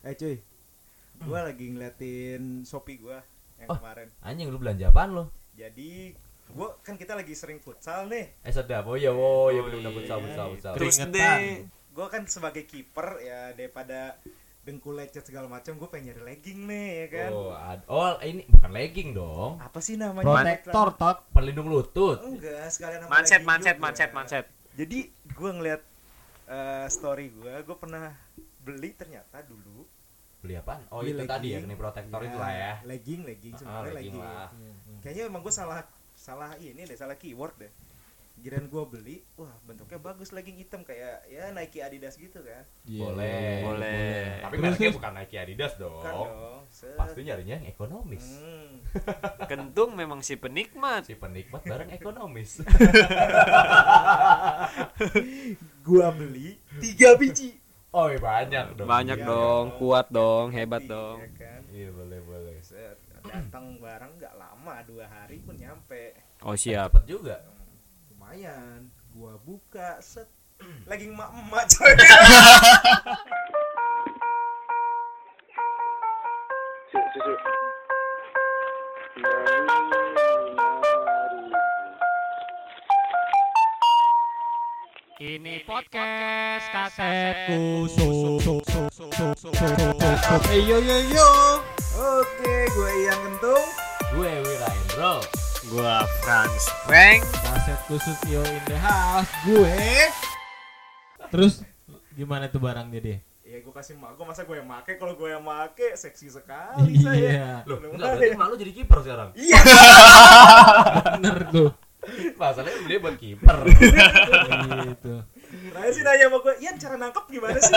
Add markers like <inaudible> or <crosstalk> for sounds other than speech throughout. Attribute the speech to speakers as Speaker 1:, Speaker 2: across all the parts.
Speaker 1: Eh cuy, gue lagi ngeliatin Shopee gue yang
Speaker 2: Hmm. Oh.
Speaker 1: kemarin.
Speaker 2: Anjing lu belanja apaan lu?
Speaker 1: Jadi gue kan kita lagi sering futsal nih.
Speaker 2: Eh sedap. Oh iya, oh iya
Speaker 3: Oh
Speaker 2: bener bener
Speaker 3: iya.
Speaker 2: futsal futsal futsal.
Speaker 3: Terus
Speaker 4: Keringetan.
Speaker 3: deh
Speaker 1: Gue kan sebagai kiper ya daripada dengkul lecet segala macam, gue pengen nyari legging nih ya kan.
Speaker 2: Oh, ad- oh ini bukan legging dong.
Speaker 1: Apa sih namanya?
Speaker 5: Protektor tot.
Speaker 2: Perlindung lutut.
Speaker 1: Enggak, sekalian sama
Speaker 3: Manset,
Speaker 1: legging
Speaker 3: manset,
Speaker 1: juga.
Speaker 3: manset, manset.
Speaker 1: Jadi gue ngeliat eh, story gue, gue pernah beli ternyata dulu.
Speaker 2: Beli apaan? Oh
Speaker 1: Beli
Speaker 2: itu tadi ya,
Speaker 1: legging. Iya.
Speaker 2: ini protektor itu lah ya.
Speaker 1: Legging, legging
Speaker 2: Ah,
Speaker 1: sebenarnya
Speaker 2: legging
Speaker 1: legging.
Speaker 2: lah.
Speaker 1: Kayaknya emang gue salah salah ini deh, salah keyword deh. Jiran gue beli, wah bentuknya bagus legging hitam kayak ya Nike Adidas gitu kan.
Speaker 5: Iya.
Speaker 2: Boleh.
Speaker 3: Boleh.
Speaker 2: Tapi
Speaker 5: Terus,
Speaker 2: mereknya
Speaker 5: terus.
Speaker 2: bukan Nike Adidas
Speaker 1: Bukan
Speaker 2: dong.
Speaker 1: Kan dong. Set.
Speaker 2: Oh, Pasti nyarinya yang ekonomis.
Speaker 1: Hmm.
Speaker 5: <laughs>
Speaker 3: Kentung memang si penikmat.
Speaker 2: Si penikmat barang ekonomis. <laughs>
Speaker 1: Gua beli tiga biji.
Speaker 2: Oh iya banyak dong.
Speaker 3: Banyak
Speaker 1: Iya,
Speaker 3: dong,
Speaker 1: dong.
Speaker 3: kuat dong, hebat
Speaker 1: Iya
Speaker 3: dong.
Speaker 1: kan?
Speaker 2: Iya boleh boleh.
Speaker 1: Set. Datang barang nggak lama dua hari pun nyampe.
Speaker 3: Oh siap.
Speaker 2: Cepet juga.
Speaker 1: Lumayan. Gua buka set. <clears throat> Lagi emak emak coy.
Speaker 4: Ini podcast kaset kusuk.
Speaker 5: Eh, yo yo yo.
Speaker 1: Oke, gue Ian Kentung.
Speaker 2: Gue Wirendro.
Speaker 3: Gua Franz Frank.
Speaker 5: Kaset khusus yo in the house gue. Terus gimana tuh barangnya deh?
Speaker 1: Ya gue kasih emak gue masa gue yang make kalau gue yang make seksi sekali saya.
Speaker 5: Iya.
Speaker 2: Loh,
Speaker 1: Belum
Speaker 2: enggak
Speaker 1: ada.
Speaker 2: berarti malu jadi kiper sekarang.
Speaker 1: Iya.
Speaker 5: Bener tuh.
Speaker 2: Masalahnya beli buat kiper.
Speaker 5: Gitu.
Speaker 1: Raya sih Nah, nanya sama gue, Ian cara nangkep gimana sih?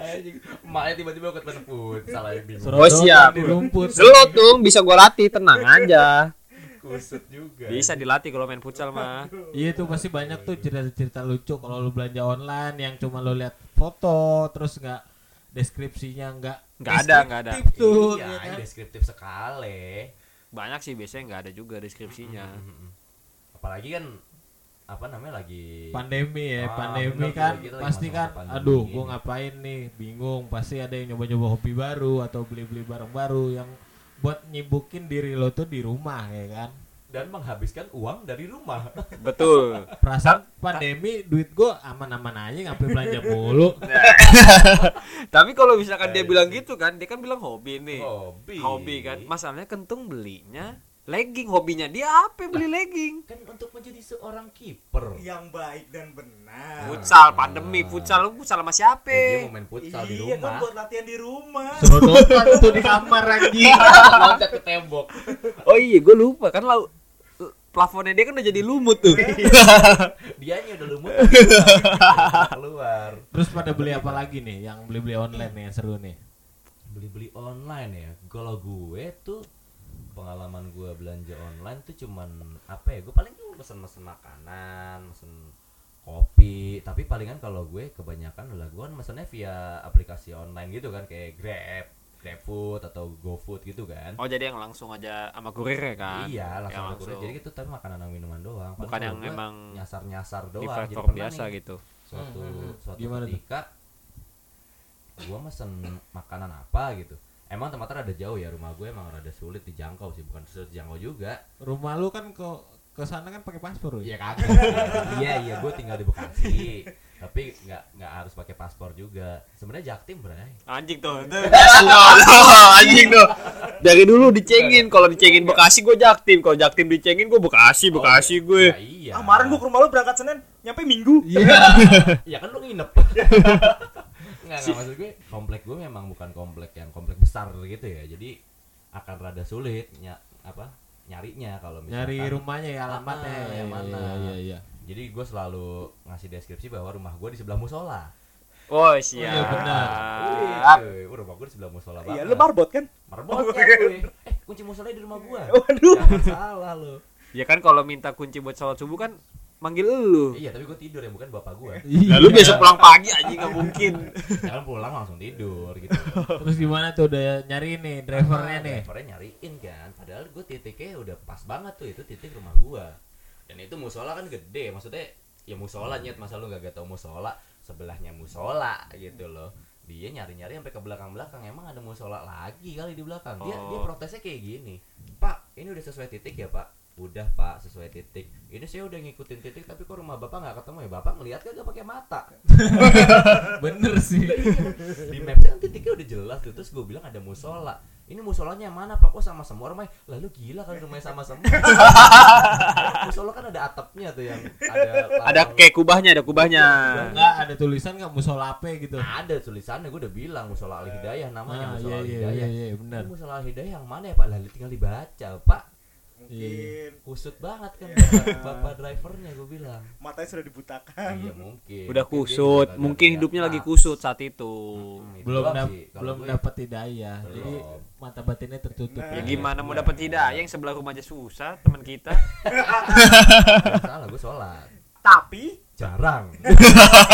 Speaker 2: Anjing, emaknya tiba-tiba ikut main futsal aja bingung.
Speaker 5: Serodot
Speaker 3: siap.
Speaker 5: di rumput.
Speaker 3: Selotung bisa gua latih, tenang aja.
Speaker 2: Kusut juga. Iya,
Speaker 3: Bisa dilatih kalau main futsal mah.
Speaker 5: Iya tuh pasti banyak tuh cerita-cerita lucu kalau lu belanja online yang cuma lu lihat foto terus nggak deskripsinya nggak
Speaker 3: Nggak ada, nggak ada.
Speaker 5: deskriptif tuh, ya
Speaker 2: Iya,
Speaker 5: kan?
Speaker 2: ini deskriptif sekali.
Speaker 3: Banyak sih biasanya nggak ada juga deskripsinya.
Speaker 2: Mm-mm. Apalagi kan apa namanya lagi
Speaker 5: pandemi ya
Speaker 2: Ah,
Speaker 5: pandemi
Speaker 2: bener,
Speaker 5: kan
Speaker 2: kita lagi
Speaker 5: pasti
Speaker 2: masa-masa
Speaker 5: kan
Speaker 2: pandemi
Speaker 5: aduh
Speaker 2: gini.
Speaker 5: gua ngapain nih bingung pasti ada yang nyoba-nyoba hobi baru atau beli-beli barang baru yang buat nyibukin diri lo tuh di rumah ya kan
Speaker 2: dan menghabiskan uang dari rumah.
Speaker 3: Betul.
Speaker 5: perasaan pandemi duit gua aman-aman aja ngapain belanja
Speaker 2: <laughs>
Speaker 5: mulu
Speaker 3: Tapi kalau misalkan dia bilang gitu kan, dia kan bilang <laughs> hobi nih.
Speaker 2: hobi.
Speaker 3: Hobi kan. Masalahnya Kentung belinya legging hobinya dia apa beli legging
Speaker 2: kan untuk menjadi seorang kiper.
Speaker 1: yang baik dan benar.
Speaker 3: futsal pandemi futsal lu futsal sama siapa
Speaker 2: Eh, dia mau main futsal di
Speaker 1: Iya kan
Speaker 2: rumah.
Speaker 1: buat latihan di rumah.
Speaker 5: serodotan tuh di kamar lagi
Speaker 2: <laughs> Loncat ke tembok.
Speaker 3: Oh iya, gue lupa kan lau plafonnya dia kan udah jadi
Speaker 2: <laughs>
Speaker 3: lumut tuh.
Speaker 2: Dianya udah lumut. keluar. keluar.
Speaker 5: terus pada beli apa lagi nih yang beli-beli online nih yang seru nih
Speaker 2: Beli-beli online ya. Kalau gue tuh pengalaman gue belanja online tuh cuman apa ya? Gue paling pesen-pesen makanan, pesen kopi tapi palingan kalau gue kebanyakan adalah gue kan mesennya via aplikasi online gitu kan kayak Grab, GrabFood atau GoFood gitu kan
Speaker 3: Oh jadi yang langsung aja sama kurir ya kan?
Speaker 2: Iya, langsung
Speaker 3: Yang
Speaker 2: ke kurir. Jadi itu tapi makanan dan minuman doang.
Speaker 3: Bukan
Speaker 2: Padahal
Speaker 3: yang
Speaker 2: gua
Speaker 3: emang
Speaker 2: nyasar-nyasar doang.
Speaker 3: di
Speaker 2: Jadi
Speaker 3: platform
Speaker 2: pernah
Speaker 3: biasa
Speaker 2: nih,
Speaker 3: gitu.
Speaker 2: Suatu
Speaker 5: Hmm, hmm, hmm.
Speaker 2: suatu
Speaker 5: Gimana tuh?
Speaker 2: ketika gua mesen makanan apa gitu. Emang tempatnya rada jauh ya rumah gue emang rada sulit dijangkau sih, bukan sulit dijangkau juga.
Speaker 5: rumah lu kan ke ke sana kan pakai paspor ya
Speaker 2: Iya kagak. <laughs> iya iya gue tinggal di Bekasi. Tapi nggak nggak harus pakai paspor juga. Sebenarnya Jaktim bray. <laughs>
Speaker 3: Anjing tuh. anjing tuh. Dari dulu dicengin,
Speaker 2: Iya.
Speaker 3: kalau dicengin Bekasi gue Jaktim, kalau Jaktim dicengin gue Bekasi, Bekasi
Speaker 2: Ya,
Speaker 3: gue.
Speaker 2: iya.
Speaker 1: Ah, kemarin gue ke rumah lu berangkat Senin, nyampe Minggu.
Speaker 2: <laughs> ya kan lu nginep <laughs> nggak nggak maksud gue komplek gue memang bukan komplek yang komplek besar gitu ya jadi akan rada sulit ny apa nyarinya kalau misalkan
Speaker 5: nyari rumahnya ya alamatnya
Speaker 2: Iya. Ah, yang mana.
Speaker 5: iya iya
Speaker 2: jadi gue selalu ngasih deskripsi bahwa rumah gue di sebelah musola Gitu.
Speaker 3: Oh siap.
Speaker 5: Iya, benar.
Speaker 3: Ah.
Speaker 2: Wih, cuy, rumah gue di sebelah musola
Speaker 1: Iya,
Speaker 2: banget
Speaker 1: lu marbot kan?
Speaker 2: marbot
Speaker 1: Oh,
Speaker 2: ya,
Speaker 1: iya.
Speaker 2: cuy. eh kunci musolanya di rumah gue
Speaker 1: Waduh.
Speaker 2: jangan salah lu
Speaker 3: Ya kan kalau minta kunci buat sholat subuh kan manggil lu.
Speaker 2: iya tapi gue tidur ya bukan bapak gue
Speaker 5: Iya.
Speaker 3: Lalu Nah,
Speaker 2: Iya.
Speaker 3: besok pulang pagi anjing nggak mungkin.
Speaker 2: jangan pulang langsung tidur gitu
Speaker 5: Terus gimana tuh udah nyari nih drivernya
Speaker 2: Ah,
Speaker 5: nih?
Speaker 2: Drivernya nyariin kan. Padahal gue titiknya udah pas banget tuh itu titik rumah gua. Dan itu musola kan gede, maksudnya ya musola nyet masa lu gak, tau musola sebelahnya musola gitu loh. dia nyari-nyari sampai ke belakang-belakang emang ada musola lagi kali di belakang dia dia
Speaker 3: Oh.
Speaker 2: protesnya kayak gini pak ini udah sesuai titik ya pak udah pak sesuai titik ini saya udah ngikutin titik tapi kok rumah bapak nggak ketemu ya bapak ngelihat kagak pakai mata iya.
Speaker 5: bener
Speaker 2: <laughs>
Speaker 5: sih
Speaker 2: di
Speaker 3: Iya.
Speaker 2: mapnya kan titiknya udah jelas tuh terus gue bilang ada musola ini musolanya yang mana pak kok sama semua rumahnya lalu gila kan rumahnya sama
Speaker 3: <laughs>
Speaker 2: semua musola kan ada atapnya tuh yang ada
Speaker 3: Ada kayak kubahnya, ada kubahnya.
Speaker 2: Iya,
Speaker 5: nggak ada tulisan nggak musola apa gitu
Speaker 2: ada tulisannya gue udah bilang musola al hidayah Ah, namanya
Speaker 3: Ah,
Speaker 5: nah
Speaker 2: musola
Speaker 5: iya
Speaker 2: al
Speaker 5: iya
Speaker 2: hidayah
Speaker 5: iya iya benar
Speaker 2: Ini musola al hidayah yang mana ya pak lalu tinggal dibaca pak
Speaker 1: mungkin
Speaker 2: kusut banget kan
Speaker 1: Iya.
Speaker 3: <laughs>
Speaker 2: bapak, bapak drivernya gue bilang
Speaker 1: matanya sudah dibutakan
Speaker 2: iya mungkin
Speaker 3: Udah
Speaker 2: Mungkin dia
Speaker 3: kusut,
Speaker 2: juga kagak
Speaker 3: mungkin
Speaker 2: lihat
Speaker 3: hidupnya lagi
Speaker 2: mata.
Speaker 3: kusut saat itu.
Speaker 2: Hmm, itu
Speaker 5: belum
Speaker 2: doang
Speaker 5: dap-
Speaker 2: sih. Kalau
Speaker 5: belum
Speaker 2: gue-
Speaker 5: dapat hidayah jadi
Speaker 2: Belum.
Speaker 5: mata batinnya tertutup
Speaker 1: Nah.
Speaker 3: Ya
Speaker 5: ya.
Speaker 3: gimana mau dapat
Speaker 5: iya.
Speaker 3: hidayah yang sebelah rumah aja susah teman kita.
Speaker 2: Nggak salah gue sholat
Speaker 3: Tapi
Speaker 2: jarang
Speaker 5: <laughs>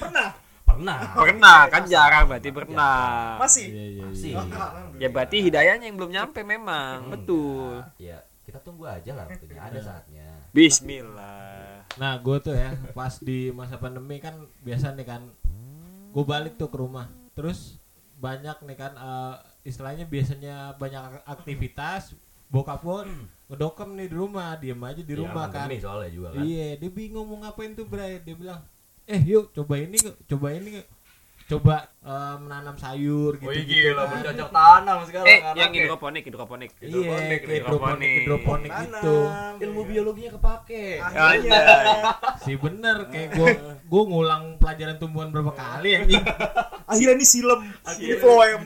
Speaker 1: pernah
Speaker 2: pernah
Speaker 3: pernah kan jarang berarti pernah.
Speaker 1: masih
Speaker 5: iya iya
Speaker 2: Masih.
Speaker 5: iya
Speaker 1: Alhamdulillah.
Speaker 3: Ya berarti hidayahnya yang belum nyampe memang.
Speaker 2: Hmm,
Speaker 3: Betul.
Speaker 2: ya, ya kita tunggu aja lah waktunya ada saatnya
Speaker 3: Bismillah.
Speaker 5: nah gue tuh ya pas di masa pandemi kan biasa nih kan gue balik tuh ke rumah terus banyak nih kan eh, istilahnya biasanya banyak aktivitas bokap gue ngedokem nih di rumah diem aja di
Speaker 2: Ya,
Speaker 5: rumah kan
Speaker 2: pandemi soalnya juga kan
Speaker 5: Iya, dia bingung mau ngapain tuh Bray. Dia bilang, "Eh, yuk coba ini, yuk. coba ini, yuk. coba eh, menanam sayur gitu."
Speaker 2: Oh, iya, bercocok tanam sekarang kan.
Speaker 3: Eh,
Speaker 2: anaknya.
Speaker 3: yang hidroponik, hidroponik.
Speaker 5: Iya,
Speaker 2: Hidroponik,
Speaker 5: kayak hidroponik, hidroponik
Speaker 1: Tanam,
Speaker 5: gitu.
Speaker 2: ilmu biologinya kepake
Speaker 1: akhirnya
Speaker 5: Si bener kayak gua gua ngulang pelajaran tumbuhan berapa kali anjing.
Speaker 1: akhirnya ini silem ini floem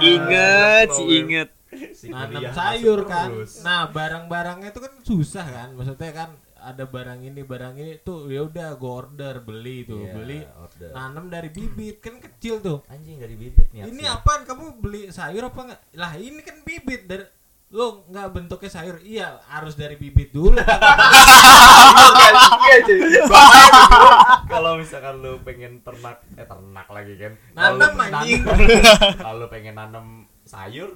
Speaker 3: Ingat, si inget.
Speaker 2: <laughs> Si
Speaker 5: Nanam
Speaker 2: kuliah masuk
Speaker 5: sayur kan.
Speaker 2: terus.
Speaker 5: Nah, barang-barangnya itu kan susah kan. Maksudnya kan ada barang ini, barang ini tuh ya udah gua order beli tuh,
Speaker 2: Iya,
Speaker 5: beli. Ah.
Speaker 2: order.
Speaker 5: Nanam dari bibit kan kecil tuh.
Speaker 2: anjing dari bibit nih
Speaker 5: ini
Speaker 2: aksi.
Speaker 5: apaan kamu beli sayur apa enggak lah ini kan bibit dari lo nggak bentuknya sayur iya harus dari bibit dulu
Speaker 2: <laughs> kalau misalkan lu pengen ternak eh ternak lagi kan
Speaker 5: Nanam,
Speaker 2: Kalau lu- <laughs>
Speaker 5: anjing.
Speaker 2: nanam- kalau pengen nanam sayur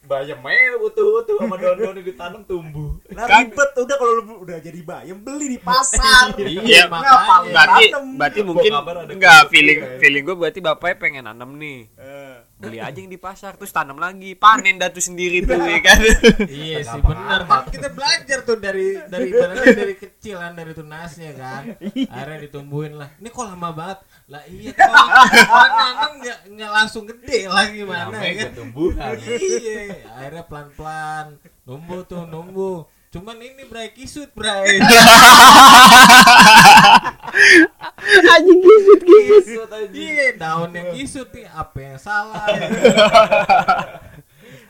Speaker 2: bayamnya utuh-utuh sama daun-daun yang ditanam tumbuh
Speaker 1: nah ribet udah kalau lu udah jadi bayam beli di
Speaker 3: <laughs>
Speaker 1: pasar
Speaker 5: Iya,
Speaker 1: Ngapang,
Speaker 5: makanya.
Speaker 3: Berarti
Speaker 1: Tanam.
Speaker 3: berarti mungkin
Speaker 2: kabar ada
Speaker 3: enggak
Speaker 2: kulit
Speaker 3: feeling
Speaker 5: gitu.
Speaker 2: juga ya.
Speaker 3: feeling gue berarti bapaknya pengen nanam nih.
Speaker 1: Eh,
Speaker 3: Beli aja yang di pasar terus tanam lagi, panen dah tuh sendiri tuh ya kan. <laughs>
Speaker 5: iya sih
Speaker 2: Gampang
Speaker 5: benar kan kita belajar tuh dari dari ibaratnya dari kecil kan dari tunasnya kan akhirnya ditumbuhin lah ini kok lama banget lah iya kok orang nanam nggak nggak langsung gede lah gimana
Speaker 2: Namanya
Speaker 5: ya kan
Speaker 2: ketumbuhan
Speaker 5: iya akhirnya pelan pelan numbuh tuh numbuh cuman ini bray kisut bray
Speaker 3: Anjing gisut
Speaker 2: Kisut, anjing.
Speaker 5: Iya, daun yang kisut nih, apa yang salah? ya.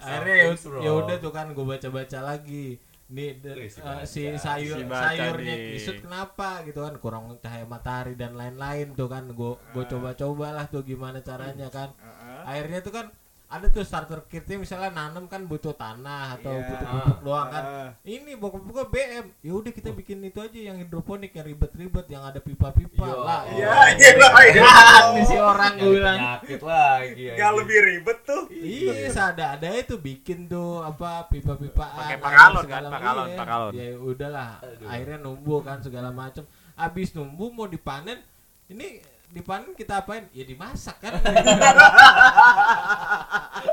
Speaker 5: Akhirnya ya-
Speaker 2: Something's wrong.
Speaker 5: ya udah tuh kan gue baca-baca lagi. Nih de-
Speaker 2: Wih, si
Speaker 5: eh,
Speaker 2: baca.
Speaker 5: si sayur
Speaker 3: Si baca
Speaker 5: sayurnya
Speaker 3: nih.
Speaker 5: kisut kenapa gitu kan kurang cahaya matahari dan lain-lain tuh kan gue gue coba-coba lah tuh gimana caranya kan.
Speaker 1: Eh,
Speaker 5: Akhirnya tuh kan ada tuh starter kitnya misalnya nanam kan butuh tanah atau
Speaker 1: Iya.
Speaker 5: butuh pupuk doang kan
Speaker 1: Ah.
Speaker 5: ini bokap gua BM ya udah kita bikin itu aja yang hidroponik yang ribet-ribet yang ada pipa-pipa
Speaker 2: Yo.
Speaker 5: lah
Speaker 1: Iya,
Speaker 2: Oh.
Speaker 1: iya, iya.
Speaker 5: ini si orang gue
Speaker 2: Nyari
Speaker 5: bilang
Speaker 2: penyakit lagi
Speaker 1: Gak
Speaker 2: anjing.
Speaker 1: lebih ribet tuh.
Speaker 5: iya seada ada itu bikin tuh apa pipa-pipaan
Speaker 3: Pakai
Speaker 5: air
Speaker 3: paralon
Speaker 5: segala-
Speaker 3: kan, paralon,
Speaker 5: iya.
Speaker 3: paralon.
Speaker 5: ya udahlah akhirnya numbuh kan segala macem abis numbuh mau dipanen ini dipanen kita apain ya dimasak kan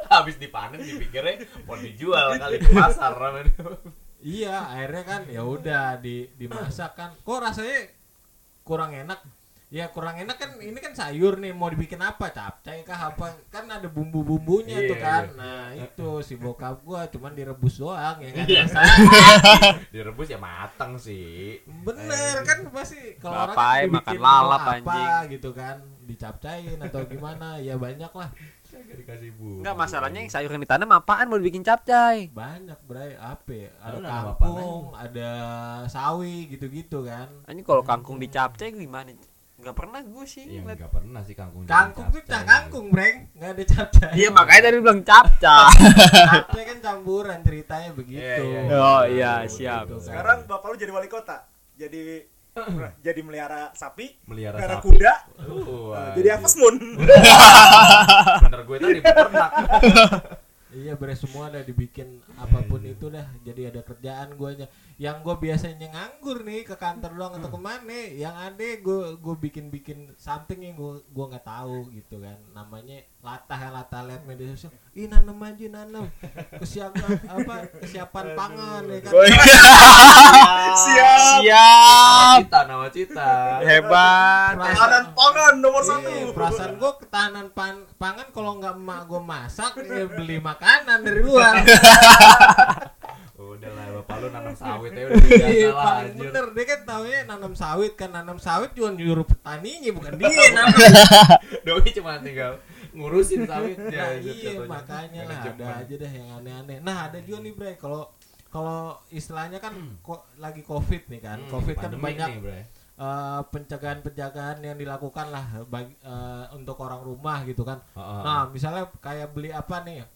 Speaker 2: habis dipanen dipikirnya mau dijual kali ke pasar namanya.
Speaker 5: iya akhirnya kan ya udah di dimasak kan kok rasanya kurang enak ya kurang enak kan ini kan sayur nih mau dibikin apa capcay kah apa kan ada bumbu bumbunya
Speaker 2: Iya,
Speaker 5: tuh kan
Speaker 2: iya.
Speaker 5: nah itu si bokap gua cuman direbus doang ya kan
Speaker 2: Iya.
Speaker 5: Rasa- <laughs>
Speaker 2: direbus ya mateng sih Iya.
Speaker 5: bener kan pasti kalau orang
Speaker 3: Bapak,
Speaker 5: kan
Speaker 3: makan
Speaker 5: dibikin
Speaker 3: lalap,
Speaker 5: apa
Speaker 3: anjing.
Speaker 5: gitu kan dicapcain atau gimana ya banyak lah
Speaker 2: Kagak dikasih bu
Speaker 3: Enggak masalahnya yang sayur yang ditanam apaan mau dibikin capcay.
Speaker 5: banyak bray apa ya? ada
Speaker 2: Lu nanam apaan
Speaker 5: kangkung ada sawi gitu-gitu kan
Speaker 3: Anjing kalau kangkung dicapcay gimana? Enggak pernah gue sih.
Speaker 2: Iya
Speaker 3: ngeliat.
Speaker 2: nggak pernah sih kangkung jadi
Speaker 5: kangkung tuh cah
Speaker 2: Iya, capcay.
Speaker 5: kangkung breng nggak ada capcay
Speaker 3: Iya makanya tadi bilang capcay.
Speaker 5: Capcay kan campuran ceritanya begitu.
Speaker 2: Iya, iya, iya.
Speaker 3: Oh, iya,
Speaker 5: Begitu
Speaker 3: siap.
Speaker 5: kan.
Speaker 1: Sekarang bapak lu jadi wali kota. Jadi jadi melihara sapi,
Speaker 2: melihara
Speaker 1: melihara
Speaker 2: sapi
Speaker 1: kuda,
Speaker 2: Uh,
Speaker 1: jadi
Speaker 2: anjing.
Speaker 1: Avesmun.
Speaker 2: bener gue tadi peternak
Speaker 5: Iya beres semua ada dibikin apapun
Speaker 2: Iya,
Speaker 5: itu dah jadi ada kerjaan guanya yang gua biasanya nganggur nih ke kantor doang
Speaker 2: Hmm.
Speaker 5: atau kemana yang ada gua gua bikin bikin something yang gua gua nggak tahu gitu kan namanya latah ya, latah lihat media sosial ih nanam aja nanam kesiapan apa kesiapan pangan ya kan
Speaker 3: siap siap
Speaker 2: Cita nama cita.
Speaker 3: Iya, hebat
Speaker 5: Perasaan-
Speaker 1: pangan nomor
Speaker 5: Iya, perasaan gue ketahanan pan pangan kalau nggak emak gue masak ya beli makanan dari
Speaker 2: <laughs>
Speaker 5: luar
Speaker 2: Udah lah bapak lu nanam sawit ya udah biasa
Speaker 5: Iya,
Speaker 2: lah
Speaker 5: paling
Speaker 2: anjir.
Speaker 5: bener dia kan taunya nanam sawit kan nanam sawit juga nyuruh petaninya bukan dia Iya, nanam
Speaker 2: Doi cuma tinggal ngurusin
Speaker 5: <laughs>
Speaker 2: sawit
Speaker 5: nah,
Speaker 2: ya.
Speaker 5: iya makanya lah ada aja dah yang aneh-aneh nah ada juga nih Bray kalau kalau istilahnya kan ko- lagi covid nih kan covid kan
Speaker 2: Hmm, nih,
Speaker 5: banyak
Speaker 2: Bray.
Speaker 5: eh, pencegahan-pencegahan yang dilakukan lah bagi, eh, untuk orang rumah gitu kan
Speaker 2: Heeh. Oh,
Speaker 5: Nah, misalnya kayak beli apa nih? Eh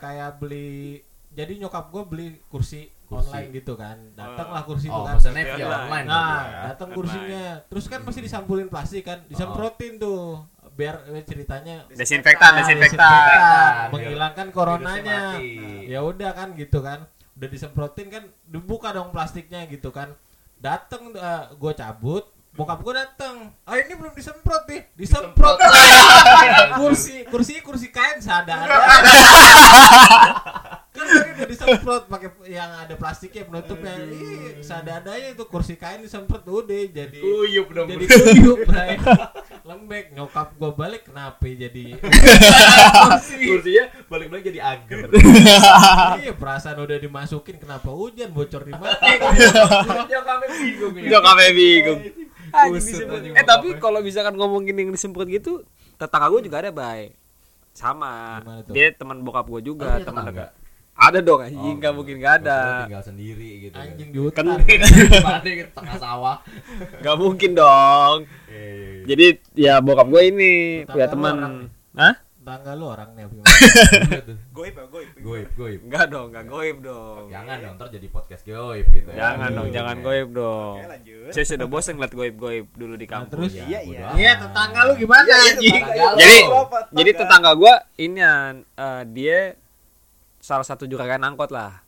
Speaker 5: kayak beli jadi nyokap gue beli kursi,
Speaker 2: Kursi.
Speaker 5: online gitu kan. Datanglah kursi itu
Speaker 2: Oh,
Speaker 5: kan.
Speaker 2: pesannya via online.
Speaker 5: Nah,
Speaker 2: gitu ya.
Speaker 5: datang kursinya. Terus kan pasti disampulin plastik kan, disemprotin tuh biar eh, ceritanya
Speaker 3: desinfektan
Speaker 5: Ah,
Speaker 3: desinfektan
Speaker 2: Desinfektan.
Speaker 5: menghilangkan
Speaker 2: Biar
Speaker 5: coronanya.
Speaker 2: virusnya mati.
Speaker 5: Ya udah kan gitu kan. Udah disemprotin kan dibuka dong plastiknya gitu kan. Dateng eh, gue cabut, bokap gue dateng. Ah ini belum disemprot nih, disemprot. <laughs> kursi kursi kursi kain seadanya. kan tadi udah disemprot pakai yang ada plastiknya penutupnya. Ih, seadanya itu kursi kain disemprot udah jadi
Speaker 2: Kuyup dong.
Speaker 5: jadi kuyup Bray. <laughs> lembek nyokap gua balik kenapa ya jadi
Speaker 2: Kursinya balik-balik jadi
Speaker 3: <laughs>
Speaker 2: agar.
Speaker 5: iya perasaan udah dimasukin kenapa hujan bocor di mana
Speaker 3: Iya.
Speaker 2: Nyokapnya bingung ya.
Speaker 3: Jok apa bingung
Speaker 2: Anjing
Speaker 3: Kusut
Speaker 2: disemprot.
Speaker 3: aja Eh tapi kalau misalkan ngomongin yang disemprot gitu Tetangga gue juga ada bay Sama
Speaker 5: Gimana tuh?
Speaker 3: Dia teman bokap gue
Speaker 2: Lu
Speaker 3: juga
Speaker 2: punya
Speaker 3: teman
Speaker 2: iya, tetangga?
Speaker 3: dekat Ada dong
Speaker 2: Oh,
Speaker 3: anjing Iya, nggak mungkin nggak ada
Speaker 2: Maksud lu Tinggal sendiri gitu. kan. <laughs>
Speaker 5: anjing di hutan
Speaker 3: Kan-
Speaker 2: Daripada ke tengah sawah.
Speaker 3: nggak mungkin dong
Speaker 2: Eh,
Speaker 3: Jadi ya bokap gue ini
Speaker 5: Tetangga
Speaker 3: punya
Speaker 5: lu orang.
Speaker 3: teman Hah?
Speaker 5: tangga lu orangnya apa gimana?
Speaker 2: iya tuh.
Speaker 1: Goib ya, goib.
Speaker 2: Goib, goib.
Speaker 3: Enggak dong, enggak goib dong.
Speaker 2: Jangan dong, ntar jadi podcast goib gitu. ya.
Speaker 3: Jangan
Speaker 5: Iya.
Speaker 3: dong, jangan goib dong.
Speaker 1: Oke, lanjut.
Speaker 3: Saya sudah bosan ngeliat goib-goib dulu di
Speaker 5: nah,
Speaker 3: kampung.
Speaker 5: terus
Speaker 1: Iya, iya.
Speaker 2: bodo amat.
Speaker 5: lu gimana
Speaker 2: Tetangga
Speaker 5: anjing
Speaker 2: lu.
Speaker 3: iya. Jadi
Speaker 1: Apa,
Speaker 3: jadi
Speaker 1: tetangga?
Speaker 3: tetangga gua ini eh, dia salah satu juragan angkot lah.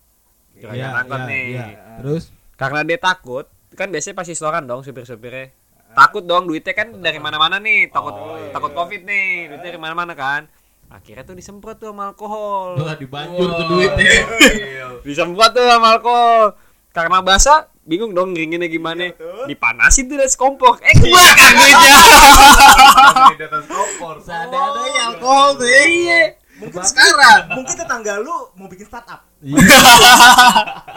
Speaker 3: Juragan
Speaker 5: Iya,
Speaker 3: angkot
Speaker 5: iya,
Speaker 3: nih.
Speaker 5: iya. terus
Speaker 3: Karena dia takut, kan biasanya pasti setoran dong supir-supirnya. Takut dong duitnya kan dari mana-mana nih, takut
Speaker 2: Oh, iya.
Speaker 3: takut Covid nih, duitnya dari mana-mana kan. Akhirnya tuh disemprot tuh sama alkohol.
Speaker 5: lu dibanjur tuh
Speaker 2: Wah,
Speaker 5: duitnya
Speaker 3: <laughs>
Speaker 2: iya.
Speaker 3: Disemprot tuh sama alkohol. Karena basah, bingung dong ngeringinnya gimana.
Speaker 1: Iya, betul.
Speaker 3: Dipanasin tuh dari sekompor. Eh, kebakar duitnya.
Speaker 2: Langsung di atas kompor.
Speaker 5: seadanya
Speaker 3: alkohol tuh. Iya.
Speaker 5: mungkin
Speaker 1: sekarang mungkin tetangga lu mau bikin startup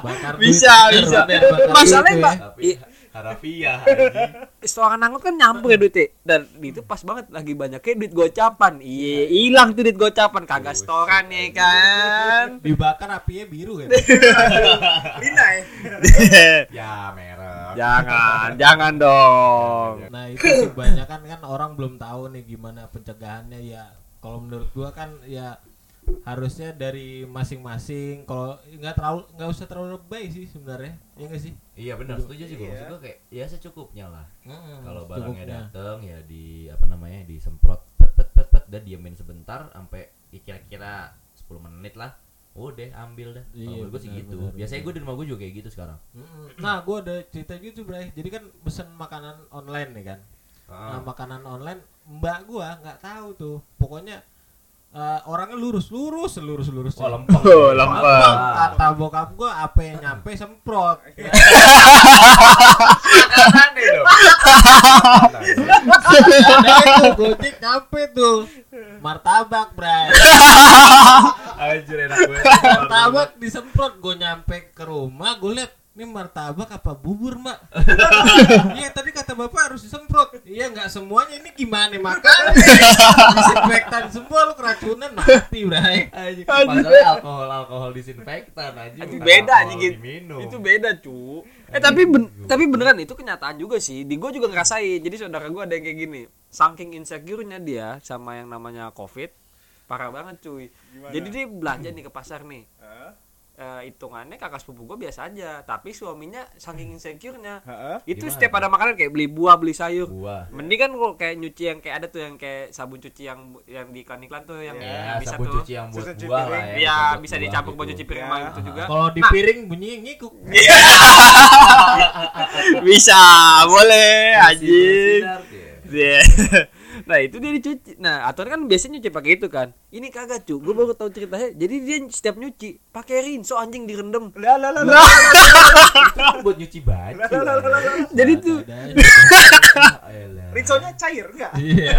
Speaker 5: bakar
Speaker 3: Bisa,
Speaker 5: duit,
Speaker 3: bisa.
Speaker 5: bener, bakar duit
Speaker 3: <laughs> Masalahnya,
Speaker 5: tuh ya.
Speaker 3: Mbak,
Speaker 2: Tapi harafiah anjing.
Speaker 3: Seorang angkot kan nyampur ya duitnya. Dan itu pas banget lagi banyaknya duit gocapan. Iya, hilang tuh duit gocapan. Kagak setoran ya kan.
Speaker 5: dibakar apinya biru kan
Speaker 3: <laughs>
Speaker 1: Lina ya
Speaker 2: Ya merek.
Speaker 3: jangan, jangan dong.
Speaker 5: Nah itu sih banyak kan kan orang belum tahu nih gimana pencegahannya ya. Kalau menurut gua kan ya harusnya dari masing-masing. Kalau nggak terlalu nggak usah terlalu lebay sih sebenarnya. Iya nggak sih?
Speaker 2: Iya benar, setuju sih gue.
Speaker 1: Iya.
Speaker 2: Maksud gue kayak ya secukupnya lah.
Speaker 5: Mm,
Speaker 2: Kalau
Speaker 5: secukupnya.
Speaker 2: barangnya dateng ya di apa namanya disemprot pet pet pet pet dan diamin sebentar sampai ya kira-kira 10 menit lah. Udah ambil dah.
Speaker 5: Iya,
Speaker 2: Kalau gue sih
Speaker 5: benar,
Speaker 2: gitu.
Speaker 5: benar,
Speaker 2: Biasanya gue di rumah gue juga kayak gitu sekarang.
Speaker 5: Mm-mm. Nah gua ada cerita gitu Bray. Jadi kan pesen makanan online nih kan.
Speaker 6: Ah.
Speaker 2: Ah.
Speaker 5: Nah, makanan online mbak gua nggak tahu tuh. Pokoknya eh, orangnya lurus lurus lurus lurus.
Speaker 2: Oh, lempeng.
Speaker 3: Oh, lempeng.
Speaker 5: Kata bokap gua apa yang nyampe
Speaker 2: <laughs>
Speaker 5: semprot.
Speaker 2: Aneh dong.
Speaker 5: Ada Nah, itu gojek nyampe tuh martabak bray
Speaker 2: Anjir enak gue. <laughs>
Speaker 5: martabak disemprot gue nyampe ke rumah gue liat ini martabak apa bubur mbak iya tadi kata bapak harus disemprot iya nggak semuanya ini gimana makan <laughs> disinfektan semua lu keracunan mati bray
Speaker 2: Anjir. Masalahnya alkohol alkohol disinfektan anjir.
Speaker 3: Itu
Speaker 2: bukan
Speaker 3: beda
Speaker 2: alkohol
Speaker 3: anjing gitu.
Speaker 2: diminum.
Speaker 3: Itu beda, cu. Eh tapi ben- tapi beneran itu kenyataan juga sih. Di gua juga ngerasain. Jadi saudara gua ada yang kayak gini. Saking insecure-nya dia sama yang namanya Covid, parah banget, cuy. Jadi dia belanja nih ke pasar nih.
Speaker 6: eh, hitungannya kakak sepupu gue biasa aja tapi suaminya saking insecure-nya
Speaker 1: Heeh.
Speaker 6: itu
Speaker 2: Gimana
Speaker 6: setiap
Speaker 2: tuh?
Speaker 6: ada makanan kayak beli buah beli sayur
Speaker 2: Buah.
Speaker 6: mending kan kalau kayak nyuci yang kayak ada tuh yang kayak sabun cuci yang yang di iklan iklan tuh yang
Speaker 2: Ya,
Speaker 6: bisa
Speaker 2: sabun
Speaker 6: tuh
Speaker 2: cuci yang buat
Speaker 1: Sabun cuci
Speaker 2: buah lah
Speaker 1: piring.
Speaker 2: ya.
Speaker 6: Iya,
Speaker 2: sabun
Speaker 6: bisa
Speaker 2: buah
Speaker 6: dicampur
Speaker 2: gitu.
Speaker 6: buat cuci
Speaker 3: Iya.
Speaker 6: piring
Speaker 1: Ya.
Speaker 6: sama itu juga
Speaker 5: Kalau di piring bunyinya ngikuk.
Speaker 3: Bisa, boleh anjing.
Speaker 2: Sinar dia.
Speaker 3: Iya.
Speaker 6: <laughs> nah itu dia dicuci nah aturan kan biasanya nyuci pakai itu kan ini kagak cu gue baru tahu ceritanya jadi dia setiap nyuci pakai rinso anjing direndam
Speaker 1: Lah lah lah lah.
Speaker 2: Itu kan buat nyuci
Speaker 1: <laughs>
Speaker 2: baju.
Speaker 1: Lah, lah, lah, lah, lah.
Speaker 6: jadi tuh
Speaker 1: Rinsonya cair enggak?
Speaker 5: Iya.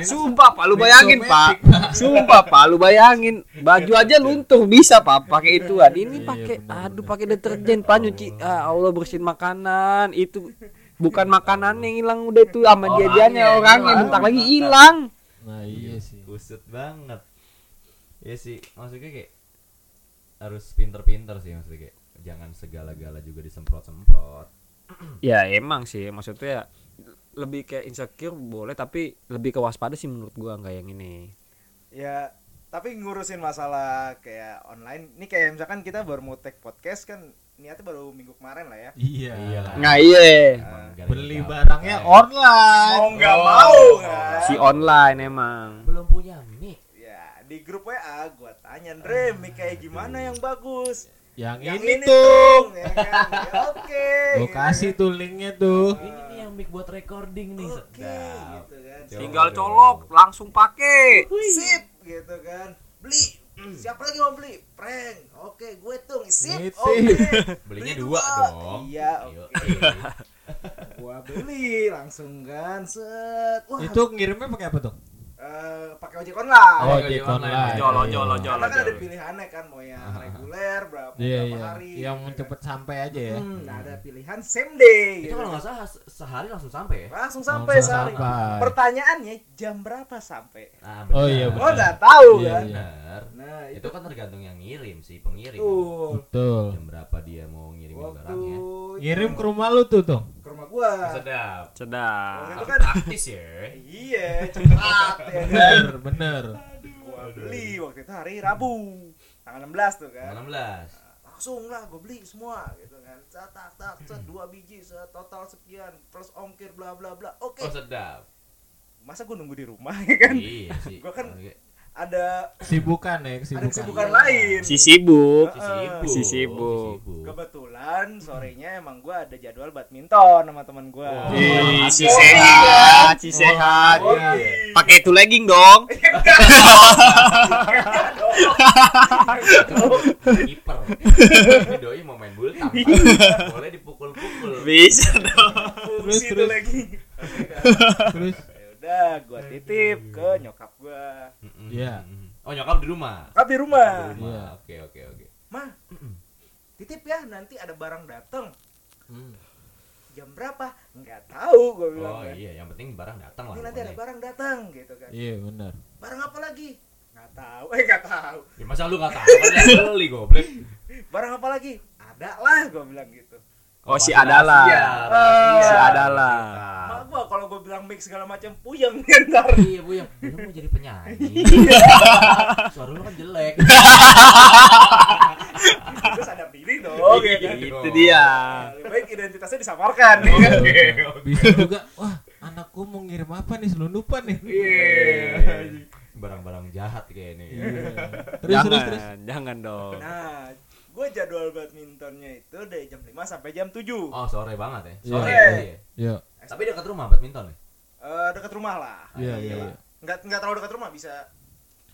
Speaker 3: Sumpah Pak, lu bayangin Pak. Sumpah Pak, lu bayangin. Baju aja luntur bisa Pak pakai ituan. Ini
Speaker 5: Iya,
Speaker 6: pakai
Speaker 5: benar,
Speaker 6: aduh pakai deterjen pak nyuci ah, Allah bersihin makanan itu bukan makanan yang hilang udah itu sama
Speaker 5: Oh,
Speaker 2: Orangnya,
Speaker 6: jajannya
Speaker 5: iya,
Speaker 6: orangnya
Speaker 2: orangnya.
Speaker 6: bentar lagi hilang
Speaker 5: Nah, iya sih.
Speaker 2: Kusut banget. Ya sih, maksudnya kayak harus pinter-pinter sih maksudnya kayak jangan segala-gala juga disemprot-semprot.
Speaker 6: ya emang sih maksudnya lebih kayak insecure boleh tapi lebih ke waspada sih menurut gua nggak yang ini
Speaker 1: Ya, tapi ngurusin masalah kayak online. Ini kayak misalkan kita baru mau take podcast kan niatnya baru minggu kemarin lah ya.
Speaker 5: Iya.
Speaker 2: Iya lah.
Speaker 3: Nah, iya. Oh.
Speaker 1: Ah.
Speaker 2: Gara-gara
Speaker 5: Beli
Speaker 2: apa?
Speaker 5: barangnya oh,
Speaker 1: Mau
Speaker 5: online.
Speaker 6: Oh,
Speaker 1: Oh, nggak mau kan?
Speaker 6: si online emang
Speaker 2: Belum punya mic.
Speaker 1: Ya, di grup WA gua tanya, "Dre, mic kayak gimana yang bagus?"
Speaker 5: Ah, Yang,
Speaker 1: Yang
Speaker 5: ini, tuh.
Speaker 1: Tung, ya
Speaker 5: <laughs>
Speaker 1: kan? Ya, Oke.
Speaker 5: Gua
Speaker 1: gitu
Speaker 5: kasih tuh linknya tuh.
Speaker 2: Ini nih yang mic buat recording nih.
Speaker 1: kan. Oke,
Speaker 2: Sedap.
Speaker 1: gitu kan.
Speaker 2: Coba
Speaker 6: tinggal
Speaker 2: dong.
Speaker 6: colok langsung pakai
Speaker 1: Sip, gitu kan. Beli. Hmm, Siapa lagi mau beli? Prank. Oke, gue tung. Sip.
Speaker 5: Sip.
Speaker 1: Oke.
Speaker 2: Belinya
Speaker 1: Beli
Speaker 2: dua
Speaker 1: dua.
Speaker 2: dong.
Speaker 1: Iya,
Speaker 2: Ayo. <laughs>
Speaker 1: Gua beli langsung kan. Set. Wah,
Speaker 5: Itu ngirimnya pakai apa tuh?
Speaker 1: eh, pakai ojek online.
Speaker 2: Oh,
Speaker 5: ojek
Speaker 2: ojek online.
Speaker 6: Ojol,
Speaker 5: Iya.
Speaker 6: ojol, ojol.
Speaker 1: Karena kan ada
Speaker 6: jauh.
Speaker 1: pilihannya kan mau yang reguler berapa
Speaker 5: Ah. Iya,
Speaker 1: berapa
Speaker 5: iya.
Speaker 1: hari.
Speaker 5: Yang
Speaker 1: gitu kan.
Speaker 5: cepet sampai aja ya.
Speaker 1: Hmm, nah, ada pilihan same day.
Speaker 2: Itu
Speaker 1: gitu.
Speaker 2: kalau nggak salah se- sehari langsung sampai ya.
Speaker 1: Langsung sampai
Speaker 5: Langsung
Speaker 1: sehari.
Speaker 5: sampai.
Speaker 1: Pertanyaannya jam berapa sampai?
Speaker 2: Nah,
Speaker 5: Oh, iya,
Speaker 2: benar.
Speaker 1: Gua
Speaker 5: Benar.
Speaker 1: nggak tahu
Speaker 5: Iya,
Speaker 1: kan.
Speaker 5: iya.
Speaker 2: Benar.
Speaker 1: Nah,
Speaker 2: Itu kan tergantung yang ngirim sih, pengirim.
Speaker 1: Betul.
Speaker 5: Betul.
Speaker 2: Jam berapa dia mau ngirimin
Speaker 1: Waktu
Speaker 2: barangnya?
Speaker 5: Ngirim ke rumah lu tuh tuh.
Speaker 1: ke rumah gua.
Speaker 2: Sedap.
Speaker 1: Waktu
Speaker 6: sedap
Speaker 1: itu
Speaker 2: Tapi
Speaker 1: kan
Speaker 2: praktis ya.
Speaker 5: <laughs>
Speaker 1: iya, cepat ya kan.
Speaker 5: Bener, bener.
Speaker 1: Gua beli waktu itu hari Rabu. Tanggal 16 tuh kan.
Speaker 2: 16.
Speaker 1: Langsung lah gua beli semua gitu kan. Set, tak tak set dua biji set, total sekian plus ongkir bla bla bla. Oke.
Speaker 2: Oh, sedap.
Speaker 1: Masa gua nunggu di rumah <laughs> ya kan?
Speaker 2: Iya sih.
Speaker 1: Gua kan-
Speaker 2: Oke.
Speaker 1: Ada
Speaker 5: Sibukan
Speaker 1: ada
Speaker 5: ya, kesibukan.
Speaker 1: kesibukan lain.
Speaker 3: Si sibuk.
Speaker 2: si sibuk.
Speaker 3: Si sibuk.
Speaker 2: Si sibuk.
Speaker 1: Kebetulan sorenya emang gua ada jadwal badminton sama teman gua.
Speaker 3: Ih, si
Speaker 6: Oh, iya.
Speaker 3: sehat, si sehat.
Speaker 1: Oke. <laughs>
Speaker 3: Pakai itu legging dong.
Speaker 2: Kiper. Ini Doi mau main bulu tampar.
Speaker 1: Iya.
Speaker 2: Boleh
Speaker 5: Iya.
Speaker 2: dipukul-pukul.
Speaker 3: Bisa dong.
Speaker 1: Fungsi itu
Speaker 5: terus.
Speaker 1: lagi.
Speaker 5: Terus
Speaker 1: <laughs> Ya udah, gua titip ke nyokap gua.
Speaker 2: Mm-mm.
Speaker 5: Iya.
Speaker 2: Oh, nyokap di rumah.
Speaker 1: Nyokap di rumah.
Speaker 2: Di
Speaker 5: Iya.
Speaker 2: rumah. Oke, oke, oke.
Speaker 1: Mah, titip ya nanti ada barang datang.
Speaker 5: Hmm.
Speaker 1: Jam berapa? Nggak tahu gua bilang.
Speaker 2: Oh
Speaker 1: kan.
Speaker 2: iya, yang penting barang datang lah.
Speaker 1: Ini nanti ada
Speaker 2: pokoknya.
Speaker 1: barang datang gitu kan.
Speaker 5: Iya, bener.
Speaker 1: Barang apa lagi? Nggak tahu. <laughs> Eh nggak tahu.
Speaker 2: Ya, masa lu gak tahu? Kan yang beli goblok.
Speaker 1: Barang apa lagi? Ada lah gua bilang gitu.
Speaker 3: Oh, si
Speaker 2: Rahasia,
Speaker 3: Adala.
Speaker 2: rahasia.
Speaker 3: Si Adala.
Speaker 1: Mak gua kalau gua bilang mix segala macam puyeng <laughs> kan ntar.
Speaker 2: Iya, Bu, yang lu mau jadi penyanyi. Suara lu kan jelek.
Speaker 1: Terus ada pilih
Speaker 6: Oh,
Speaker 1: dong
Speaker 3: Iya.
Speaker 6: gitu.
Speaker 1: ya kan.
Speaker 3: Itu dia.
Speaker 1: Nah, lebih baik identitasnya disamarkan. ya kan?
Speaker 5: Bisa juga, wah anakku mau ngirim apa nih selundupan nih.
Speaker 2: Iya.
Speaker 1: Iya.
Speaker 2: Barang-barang jahat ya. kayak ini.
Speaker 5: Iya. Terus terus terus.
Speaker 6: jangan jangan dong
Speaker 1: Nah, gue jadwal badmintonnya itu dari jam 5 sampai jam 7.
Speaker 2: Oh, sore banget ya.
Speaker 5: Iya.
Speaker 2: Sore.
Speaker 1: Sore.
Speaker 2: iya.
Speaker 5: Yo,
Speaker 2: Tapi dekat rumah badminton ya?
Speaker 1: Eh, dekat rumah lah.
Speaker 5: iya iya. iya.
Speaker 1: Nggak nggak terlalu dekat rumah bisa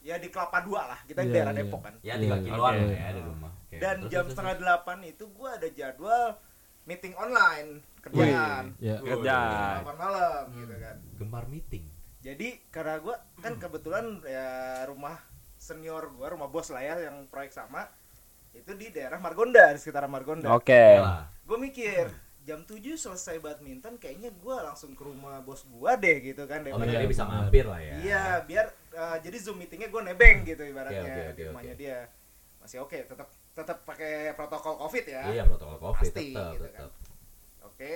Speaker 1: ya di Kelapa Dua lah. Kita di
Speaker 5: Iya,
Speaker 1: daerah
Speaker 5: iya.
Speaker 1: Depok kan.
Speaker 2: Ya
Speaker 5: Iya,
Speaker 2: tiga
Speaker 5: iya.
Speaker 2: kiloan
Speaker 5: Oke.
Speaker 2: ya dari rumah. Oke,
Speaker 1: Dan
Speaker 2: terus,
Speaker 1: jam
Speaker 2: terus,
Speaker 1: setengah delapan itu gue ada jadwal meeting online kerjaan.
Speaker 5: Iya.
Speaker 2: terus.
Speaker 6: Kerjaan.
Speaker 1: Jam 8 malam gitu kan.
Speaker 2: Gemar meeting.
Speaker 1: Jadi karena gue kan kebetulan ya rumah senior gue, rumah bos lah ya yang proyek sama itu di daerah Margonda, di sekitar Margonda.
Speaker 6: oke
Speaker 5: Eh.
Speaker 2: Yalah.
Speaker 1: gue mikir jam 7 selesai badminton kayaknya gue langsung ke rumah bos gue deh gitu kan
Speaker 2: Oh,
Speaker 1: daripada
Speaker 5: iya,
Speaker 2: jadi bisa
Speaker 5: benar.
Speaker 2: mampir lah ya.
Speaker 1: iya biar uh, jadi zoom meetingnya gue nebeng gitu ibaratnya
Speaker 2: Oke, oke,
Speaker 1: di
Speaker 2: oke,
Speaker 1: rumahnya
Speaker 2: oke.
Speaker 1: dia masih oke tetap tetap pakai protokol covid ya gitu kan.
Speaker 2: Iya, protokol Covid
Speaker 1: Pasti,
Speaker 2: tetap
Speaker 1: gitu
Speaker 2: tetap.
Speaker 1: oke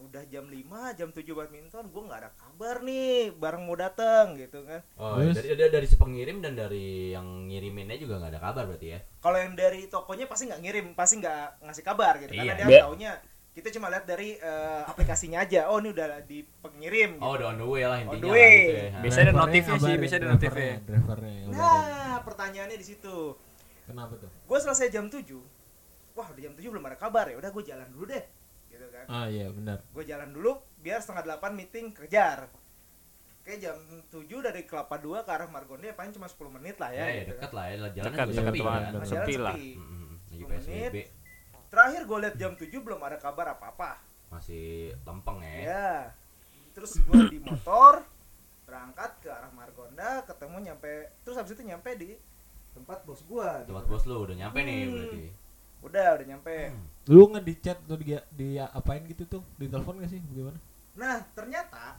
Speaker 1: udah jam 5 jam 7 badminton gue nggak ada kabar nih barang mau datang gitu kan
Speaker 2: Oh,
Speaker 5: Terus?
Speaker 2: dari, dari dari si pengirim dan dari yang ngiriminnya juga nggak ada kabar berarti ya?
Speaker 1: kalau yang dari tokonya pasti nggak ngirim pasti nggak ngasih kabar gitu karena
Speaker 2: Iya.
Speaker 1: dia
Speaker 3: Be-
Speaker 1: taunya kita cuma lihat dari eh, aplikasinya aja oh ini udah di pengirim gitu.
Speaker 2: Oh, udah on the way lah
Speaker 1: On
Speaker 2: intinya.
Speaker 1: the
Speaker 2: lah
Speaker 1: way.
Speaker 2: gitu ya. Nah,
Speaker 3: Biasanya ada
Speaker 5: Drivernya
Speaker 3: notifnya sih,
Speaker 5: ngabarin,
Speaker 3: biasanya ada
Speaker 5: drivernya,
Speaker 3: notifnya.
Speaker 5: Drivernya. yang ngabarin.
Speaker 1: nah pertanyaannya di situ
Speaker 5: Kenapa tuh?
Speaker 1: gue selesai jam 7 wah udah jam 7 belum ada kabar ya udah gue jalan dulu deh gitu kan
Speaker 5: Ah iya benar.
Speaker 1: gue jalan dulu biar setengah delapan meeting kejar Oke jam 7 dari Kelapa 2 ke arah Margonda ya paling cuma 10 menit lah
Speaker 2: Ya,
Speaker 1: ya,
Speaker 2: ya
Speaker 1: gitu
Speaker 2: dekat lah Hmm. ya, jalan
Speaker 3: Dekat, dekat banget.
Speaker 1: kan. Nah, jalan
Speaker 3: Sepi lah.
Speaker 1: sepi.
Speaker 2: Lagi
Speaker 1: 10
Speaker 2: PSBB
Speaker 1: menit. Terakhir gue liat jam 7 belum ada kabar apa-apa
Speaker 2: masih lempeng ya.
Speaker 1: Ya Terus gue di motor Berangkat ke arah Margonda Ketemu nyampe Terus habis itu nyampe di tempat bos gue
Speaker 2: Tempat bos lu udah nyampe nih
Speaker 1: Hmm.
Speaker 2: berarti.
Speaker 1: Udah udah nyampe
Speaker 5: Lu nge di chat lu di, di apain gitu tuh? Di telepon gak sih? Bagaimana?
Speaker 1: Nah ternyata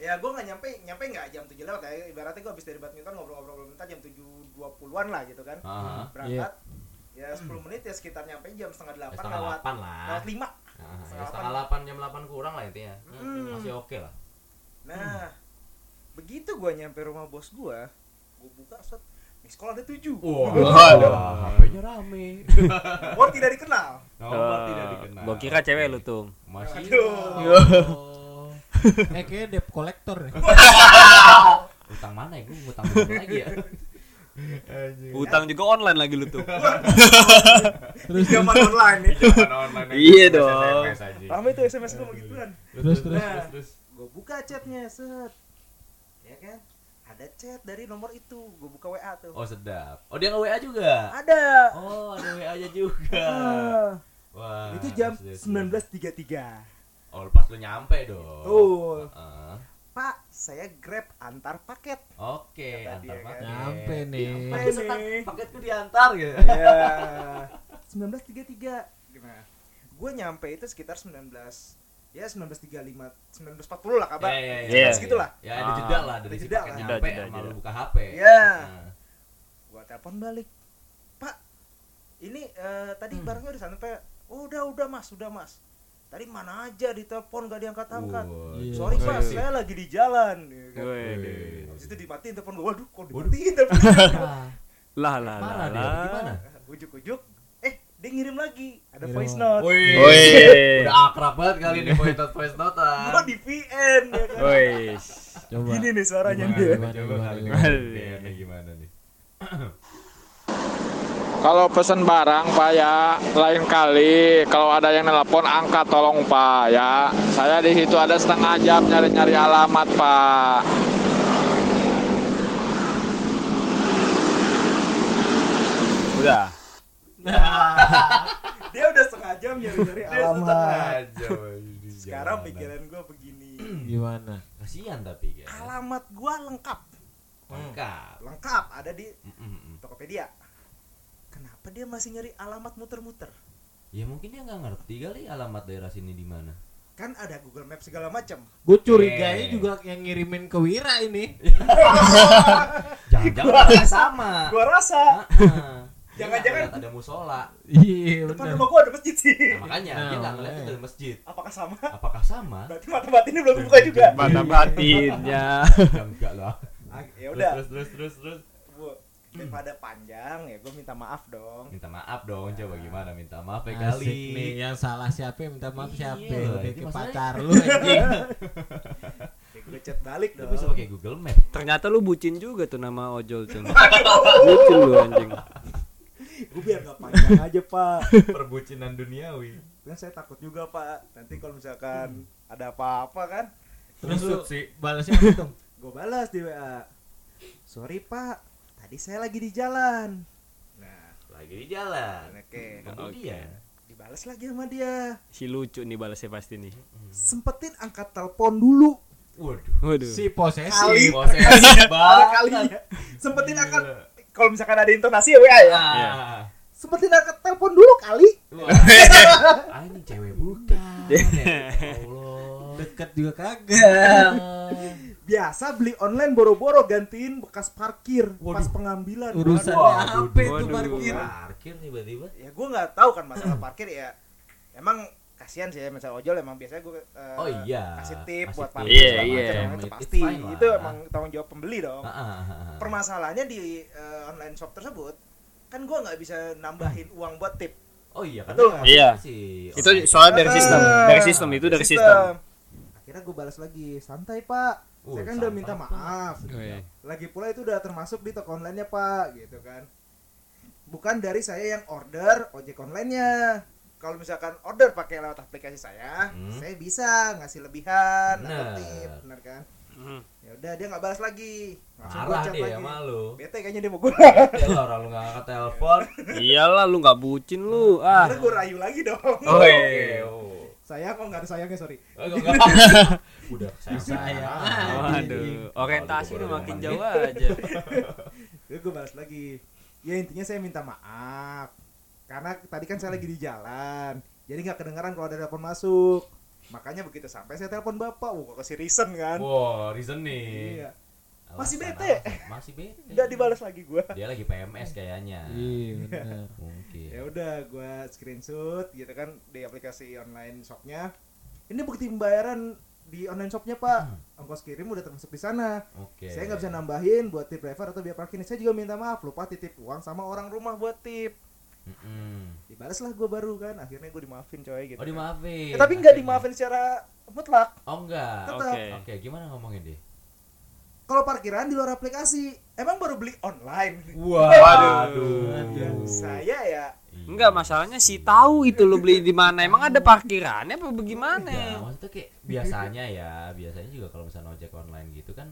Speaker 1: ya gue nggak nyampe nyampe nggak jam 7 lewat ya ibaratnya gue habis dari badminton ngobrol-ngobrol bentar jam 7.20an lah gitu kan
Speaker 2: Aha.
Speaker 5: Ah,
Speaker 1: berangkat
Speaker 5: iya.
Speaker 1: ya 10 menit ya sekitar nyampe jam setengah
Speaker 2: Ya,
Speaker 1: delapan
Speaker 2: Setengah
Speaker 1: lewat
Speaker 2: delapan lah.
Speaker 1: lewat lima
Speaker 2: Nah, ya,
Speaker 1: setengah
Speaker 2: setengah delapan jam delapan kurang lah intinya.
Speaker 1: Hmm.
Speaker 2: Masih oke lah.
Speaker 5: Hmm.
Speaker 1: nah begitu gue nyampe rumah bos gue gue buka set miss call ada tujuh
Speaker 3: Waduh.
Speaker 2: HP-nya rame.
Speaker 1: nomor tidak dikenal
Speaker 2: Nomor tidak dikenal.
Speaker 3: Gua kira cewek lu tuh.
Speaker 2: Masih.
Speaker 1: Aduh.
Speaker 5: Oh. eh kayaknya debt collector deh.
Speaker 2: Utang mana ya? Gue ngutang berapa lagi <laughs> ya.
Speaker 3: Utang juga online lagi lu tuh.
Speaker 5: Terus
Speaker 1: zaman online ya
Speaker 2: Pinjaman online aja,
Speaker 3: Iya
Speaker 2: SMS,
Speaker 3: dong.
Speaker 2: SMS aja.
Speaker 1: rame tuh sms gue begituan
Speaker 5: Terus, terus,
Speaker 1: terus,
Speaker 2: terus.
Speaker 1: gue buka chatnya set ya kan ada chat dari nomor itu gue buka wa tuh
Speaker 2: Oh sedap. Oh dia nge WA juga.
Speaker 1: ada
Speaker 2: Oh ada WA nya juga.
Speaker 1: Ah.
Speaker 2: Wah.
Speaker 1: itu jam
Speaker 2: sudah, sudah.
Speaker 1: 19.33
Speaker 2: Oh pas lu nyampe dong.
Speaker 1: Tuh.
Speaker 2: Heeh.
Speaker 1: Pak, saya grab antar paket.
Speaker 2: Oke.
Speaker 1: Kata
Speaker 2: Antar
Speaker 1: dia,
Speaker 2: paket.
Speaker 5: nyampe nih.
Speaker 1: Nyampe nih.
Speaker 2: Paketku diantar gitu.
Speaker 1: Ya. 1933. Gimana? Gue nyampe itu sekitar 19 ya 1935 1940 lah kabar.
Speaker 3: Iya.
Speaker 1: Segitu lah.
Speaker 2: Ya ada jeda
Speaker 3: Ah.
Speaker 2: lah dari si
Speaker 1: Jeda
Speaker 2: paket
Speaker 1: lah.
Speaker 2: nyampe
Speaker 3: Jeda, jeda,
Speaker 2: sama
Speaker 3: jeda.
Speaker 2: lu buka HP.
Speaker 1: Iya.
Speaker 2: Nah.
Speaker 1: Gua telepon balik. Pak, ini eh, tadi barangnya udah sampai. Udah, udah Mas, udah Mas. Tadi mana aja ditelepon gak diangkat-angkat.
Speaker 2: Wah,
Speaker 5: Iya.
Speaker 1: Sorry
Speaker 2: cuy.
Speaker 1: Pak, saya lagi di jalan. Ya kan.
Speaker 3: <laughs> Iya. Wih.
Speaker 1: Habis itu dimatiin telepon gue. Waduh, kok dimatiin telepon?
Speaker 3: Lah lah lah.
Speaker 2: Parah dia.
Speaker 3: lah.
Speaker 2: Gimana?
Speaker 1: <laughs> Ujuk-ujuk, eh dia ngirim lagi. Ada
Speaker 5: Ngirim.
Speaker 1: voice note.
Speaker 2: Wih.
Speaker 3: Wih.
Speaker 5: Iya.
Speaker 2: Udah akrab banget kali nih voice note voice note.
Speaker 1: Gua di VN ya kan.
Speaker 3: Wih.
Speaker 5: coba.
Speaker 1: Gini nih suaranya
Speaker 5: Gimana,
Speaker 1: dia.
Speaker 5: gimana, Iya,
Speaker 2: Coba
Speaker 5: gimana,
Speaker 2: kali
Speaker 5: gimana.
Speaker 2: ini gimana nih?
Speaker 7: Kalau pesan barang Pak ya, lain kali kalau ada yang nelpon angkat tolong Pak ya. Saya di situ ada setengah jam nyari-nyari alamat Pak.
Speaker 3: Udah.
Speaker 1: Dia udah setengah jam nyari-nyari alamat.
Speaker 2: Aja,
Speaker 1: <laughs>
Speaker 2: di
Speaker 1: Sekarang
Speaker 2: jalanan.
Speaker 1: pikiran gua begini.
Speaker 5: Gimana?
Speaker 2: kasihan tapi guys.
Speaker 1: Alamat gua lengkap.
Speaker 2: Lengkap.
Speaker 1: Lengkap ada di
Speaker 2: Mm, mm.
Speaker 1: Tokopedia. Kenapa dia masih nyari alamat muter-muter?
Speaker 2: Ya mungkin dia nggak ngerti kali alamat daerah sini di
Speaker 1: <laughs>
Speaker 2: mana.
Speaker 1: Kan ada Google Maps segala macam.
Speaker 5: Gue
Speaker 2: Eh.
Speaker 5: curiganya juga yang ngirimin ke Wira ini.
Speaker 2: Iya. Jangan-jangan alamatnya sama.
Speaker 1: Gua rasa
Speaker 2: Heeh.
Speaker 1: Jangan-jangan-
Speaker 2: Dia nggak ngeliat ada musola.
Speaker 5: Iya
Speaker 1: depan
Speaker 5: benar.
Speaker 1: rumah gua ada masjid
Speaker 2: Nah,
Speaker 1: sih.
Speaker 2: makanya
Speaker 5: Nah,
Speaker 2: dia nggak ngeliat itu
Speaker 5: makanya.
Speaker 1: iya.
Speaker 2: dari masjid.
Speaker 1: Apakah sama?
Speaker 2: Apakah sama?
Speaker 1: Berarti mata batinnya belum terbuka juga.
Speaker 3: Mata batinnya.
Speaker 2: ya enggak lah.
Speaker 1: Ah, Ya udah,
Speaker 2: Terus terus terus terus.
Speaker 1: Bu, daripada panjang ya gua minta maaf dong.
Speaker 2: Minta maaf dong coba
Speaker 1: Nah.
Speaker 2: gimana minta maaf ya
Speaker 5: Asik
Speaker 2: kali.
Speaker 5: nih yang salah siapa yang minta maaf
Speaker 2: Iya,
Speaker 5: siapa
Speaker 2: loh, itu
Speaker 5: udah ke
Speaker 2: masalahnya.
Speaker 5: pacar lu anjing
Speaker 1: Ya, gua chat balik
Speaker 2: Lu
Speaker 1: dong.
Speaker 2: bisa pakai Google Map.
Speaker 6: <laughs> Ternyata lu bucin juga tuh nama ojol tuh. bucin lu anjing.
Speaker 1: Gua biar gak panjang aja, Pak.
Speaker 2: <laughs> Perbucinan duniawi.
Speaker 1: kan saya takut juga pak nanti kalau misalkan ada apa-apa kan
Speaker 5: terus lu
Speaker 2: Kusut sih.
Speaker 5: balasnya apa tuh
Speaker 1: gue balas di wa sorry pak tadi saya lagi di jalan nah
Speaker 2: Lagi di jalan.
Speaker 1: oke
Speaker 2: Kemudian
Speaker 1: dibalas lagi sama dia
Speaker 6: Si lucu nih balasnya pasti nih.
Speaker 1: sempetin angkat telepon dulu
Speaker 2: Waduh.
Speaker 6: Waduh.
Speaker 5: si posesif
Speaker 1: Kali.
Speaker 2: Posesif
Speaker 1: ada
Speaker 2: banget.
Speaker 1: kalinya sempetin angkat
Speaker 2: Gila.
Speaker 1: kalau misalkan ada intonasi ya wa ya
Speaker 3: Iya.
Speaker 1: <laughs>
Speaker 2: Ah.
Speaker 1: sempetin angkat telepon dulu kali
Speaker 2: Wah, ah, ini cewek bukan. ya
Speaker 3: Iya.
Speaker 2: Allah.
Speaker 5: deket juga kagak
Speaker 1: biasa beli online boro-boro gantiin bekas parkir pas
Speaker 2: Waduh.
Speaker 1: pengambilan
Speaker 5: urusan ya.
Speaker 2: Waduh,
Speaker 5: apa itu
Speaker 6: waduh.
Speaker 2: Ya
Speaker 5: parkir
Speaker 1: Iya.
Speaker 2: Parkir tiba-tiba.
Speaker 1: ya gue nggak tahu kan masalah parkir ya emang kasihan sih ya misalnya ojol emang biasanya gue eh,
Speaker 2: Oh iya.
Speaker 1: kasih tip
Speaker 2: Kasih
Speaker 1: buat
Speaker 2: tip,
Speaker 1: parkir
Speaker 3: Iya,
Speaker 1: segala
Speaker 3: iya.
Speaker 1: macam, emang itu
Speaker 2: It's
Speaker 1: pasti
Speaker 2: fine lah.
Speaker 1: itu emang tanggung jawab pembeli dong
Speaker 2: Ah, ah, ah, ah.
Speaker 1: permasalahannya di eh, online shop tersebut kan gua nggak bisa nambahin uang buat tip
Speaker 2: Oh iya kan.
Speaker 1: Betul nggak?
Speaker 3: Iya. Itu soalnya dari
Speaker 1: Ah,
Speaker 3: sistem, dari sistem itu dari sistem.
Speaker 1: akhirnya gue balas lagi santai pak saya kan udah minta maaf lagi pula itu udah termasuk di toko online nya pak gitu kan bukan dari saya yang order ojek online nya kalau misalkan order pakai lewat aplikasi saya
Speaker 2: Hmm.
Speaker 1: saya bisa ngasih lebihan atau
Speaker 2: Bener.
Speaker 1: tip bener kan
Speaker 6: Hmm.
Speaker 1: ya udah dia nggak balas lagi langsung
Speaker 2: Marah
Speaker 1: gocap
Speaker 2: dia
Speaker 1: lagi
Speaker 2: sama lu.
Speaker 1: bete kayaknya dia mau gue <laughs>
Speaker 2: Ya lah, orang lu gak angkat telepon.
Speaker 3: Iyalah lu nggak bucin lu. Ah.
Speaker 1: akhirnya gue rayu lagi dong
Speaker 3: <laughs> Oh iya.
Speaker 1: saya kok nggak ada sayangnya sorry
Speaker 2: Oh, enggak,
Speaker 3: <laughs>
Speaker 2: enggak. Udah
Speaker 5: Saya.
Speaker 3: Waduh, orientasi lu makin jauh aja.
Speaker 1: Terus gue balas lagi. Ya intinya saya minta maaf. Karena tadi kan saya lagi di jalan. Jadi nggak kedengaran kalau ada telepon masuk. Makanya begitu sampai saya telepon bapak. Wah, gua kasih reason
Speaker 2: Oh,
Speaker 1: kan.
Speaker 2: Wow, reasoning.
Speaker 1: Iya. Masih
Speaker 2: Alasan,
Speaker 1: bete.
Speaker 2: alasan. Masih bete.
Speaker 1: Udah dibalas lagi gua.
Speaker 2: Dia lagi PMS kayaknya.
Speaker 5: Iya benar.
Speaker 1: Ya
Speaker 2: Mungkin.
Speaker 1: udah gua screenshot gitu kan di aplikasi online shopnya. Ini bukti pembayaran di online shopnya pak. Ongkos kirim udah termasuk di sana.
Speaker 2: Oke.
Speaker 1: Saya nggak bisa nambahin buat tip driver atau biaya parkir. Saya juga minta maaf lupa titip uang sama orang rumah buat tip.
Speaker 2: Mm-mm.
Speaker 1: Dibalaslah gua baru kan. Akhirnya gue dimaafin coy gitu.
Speaker 2: Oh
Speaker 1: kan.
Speaker 2: dimaafin.
Speaker 1: Ya, tapi nggak
Speaker 2: Akhirnya.
Speaker 1: dimaafin secara mutlak.
Speaker 2: Oh enggak.
Speaker 1: Tetap.
Speaker 2: Oke. Oke, gimana ngomongin deh?
Speaker 1: Kalau parkiran di luar aplikasi, emang baru beli online.
Speaker 2: Waduh.
Speaker 1: Saya ya,
Speaker 6: Enggak, masalahnya si tahu itu lu beli di mana. Emang ada parkirannya apa
Speaker 3: Eh.
Speaker 6: bagaimana?
Speaker 2: Enggak, Ya, maksudnya kayak biasanya ya, biasanya juga kalau misalnya ojek online gitu kan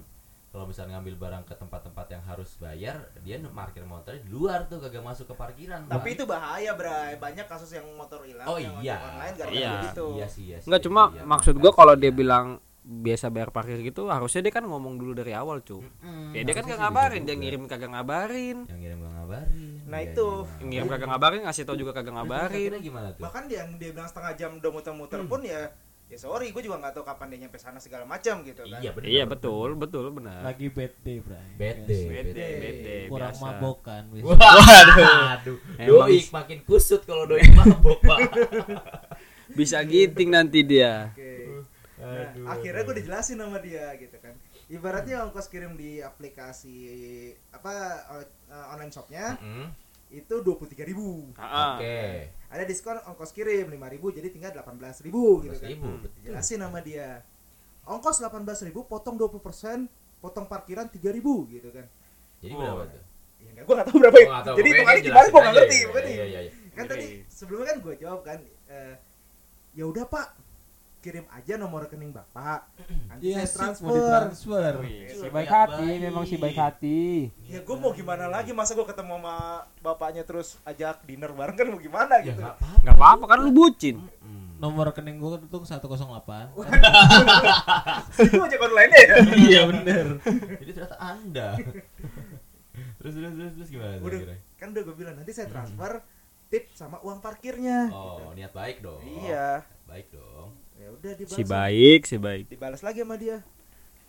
Speaker 2: kalau misalnya ngambil barang ke tempat-tempat yang harus bayar, dia parkir motornya di luar tuh kagak masuk ke parkiran.
Speaker 1: tapi
Speaker 2: Bang.
Speaker 1: itu bahaya, Bray. Banyak kasus yang motor hilang
Speaker 2: Oh
Speaker 1: yang
Speaker 2: iya.
Speaker 1: ojek online gara-gara
Speaker 2: iya.
Speaker 1: begitu.
Speaker 2: Iya sih, iya sih.
Speaker 6: Enggak cuma
Speaker 2: Iya,
Speaker 6: maksud
Speaker 2: iya.
Speaker 6: gua kalau dia bilang biasa bayar parkir gitu harusnya dia kan ngomong dulu dari awal cu
Speaker 2: Mm,
Speaker 6: ya dia
Speaker 2: harusnya
Speaker 6: kan gak
Speaker 2: sih
Speaker 6: ngabarin
Speaker 2: bisa
Speaker 6: dia
Speaker 2: juga.
Speaker 6: ngirim kagak ngabarin
Speaker 2: yang ngirim gak ngabarin. iya,
Speaker 1: Nah,
Speaker 2: dia
Speaker 1: itu.
Speaker 2: ngirim.
Speaker 6: ngirim kagak ngabarin ngasih tau juga kagak
Speaker 2: Terus
Speaker 6: ngabarin
Speaker 2: akhirnya gimana tuh?
Speaker 1: Bahkan yang dia bilang setengah jam udah muter-muter
Speaker 2: Hmm.
Speaker 1: pun ya, ya sorry, gue juga nggak tahu kapan dia nyampe sana segala macam gitu kan.
Speaker 2: Iya, bener.
Speaker 6: iya betul betul benar
Speaker 5: Lagi bad day, Bray.
Speaker 2: Bad
Speaker 5: Biasa.
Speaker 2: day, bad
Speaker 6: bete
Speaker 2: day.
Speaker 6: bete
Speaker 3: ya
Speaker 5: Kurang
Speaker 6: biasa
Speaker 5: mabok kan. biasa.
Speaker 2: Waduh.
Speaker 6: Emang-
Speaker 2: Doi makin kusut kalau doi mabok,
Speaker 1: <laughs>
Speaker 2: Pak.
Speaker 6: bisa giting nanti dia
Speaker 1: Oke. Nah, akhirnya gue dijelasin sama dia gitu kan. Ibaratnya ongkos kirim di aplikasi apa o- eh, online shopnya
Speaker 2: Mm,
Speaker 1: itu dua puluh tiga ribu.
Speaker 6: Ah, ah.
Speaker 2: Oke.
Speaker 1: Ada diskon ongkos kirim lima ribu, jadi tinggal delapan belas ribu gitu kan.
Speaker 2: 12.000, betul.
Speaker 1: jelasin nama dia ongkos 18.000 potong 20% potong parkiran 3.000 gitu kan
Speaker 2: Jadi berapa tuh?
Speaker 1: ya enggak, gua gak tahu berapa itu
Speaker 2: Gua nggak tahu,
Speaker 1: jadi
Speaker 2: pokoknya
Speaker 1: hitungannya
Speaker 2: dia
Speaker 1: gimana gua gak
Speaker 2: jelasin aja,
Speaker 1: ngerti
Speaker 2: iya,
Speaker 1: gua ngerti.
Speaker 2: iya, iya, iya.
Speaker 1: kan tadi sebelumnya kan gua jawab kan eh, ya udah pak kirim aja nomor rekening bapak <clears throat> nanti saya
Speaker 5: Iya, sih,
Speaker 1: transfer
Speaker 5: mau ditransfer.
Speaker 8: Si baik hati, memang si baik hati.
Speaker 1: ya gua mau gimana lagi masa gua ketemu sama bapaknya terus ajak dinner bareng kan mau gimana
Speaker 2: Ya
Speaker 1: gitu
Speaker 2: nggak apa-apa.
Speaker 6: nggak apa-apa kan lu bucin
Speaker 2: Mm.
Speaker 5: Nomor rekening gua itu
Speaker 1: <laughs>
Speaker 5: 108.
Speaker 1: itu aja online ya
Speaker 5: Iya bener.
Speaker 2: Jadi ternyata anda. <laughs> terus terus terus terus gimana? tuh
Speaker 1: udah
Speaker 2: kira?
Speaker 1: kan udah gua bilang nanti saya
Speaker 5: Hmm.
Speaker 1: transfer tip sama uang parkirnya
Speaker 2: Oh niat baik dong.
Speaker 1: iya
Speaker 2: Baik dong.
Speaker 1: ya udah dibalas
Speaker 3: Si
Speaker 1: sama
Speaker 3: baik, si baik.
Speaker 1: dibalas lagi sama dia.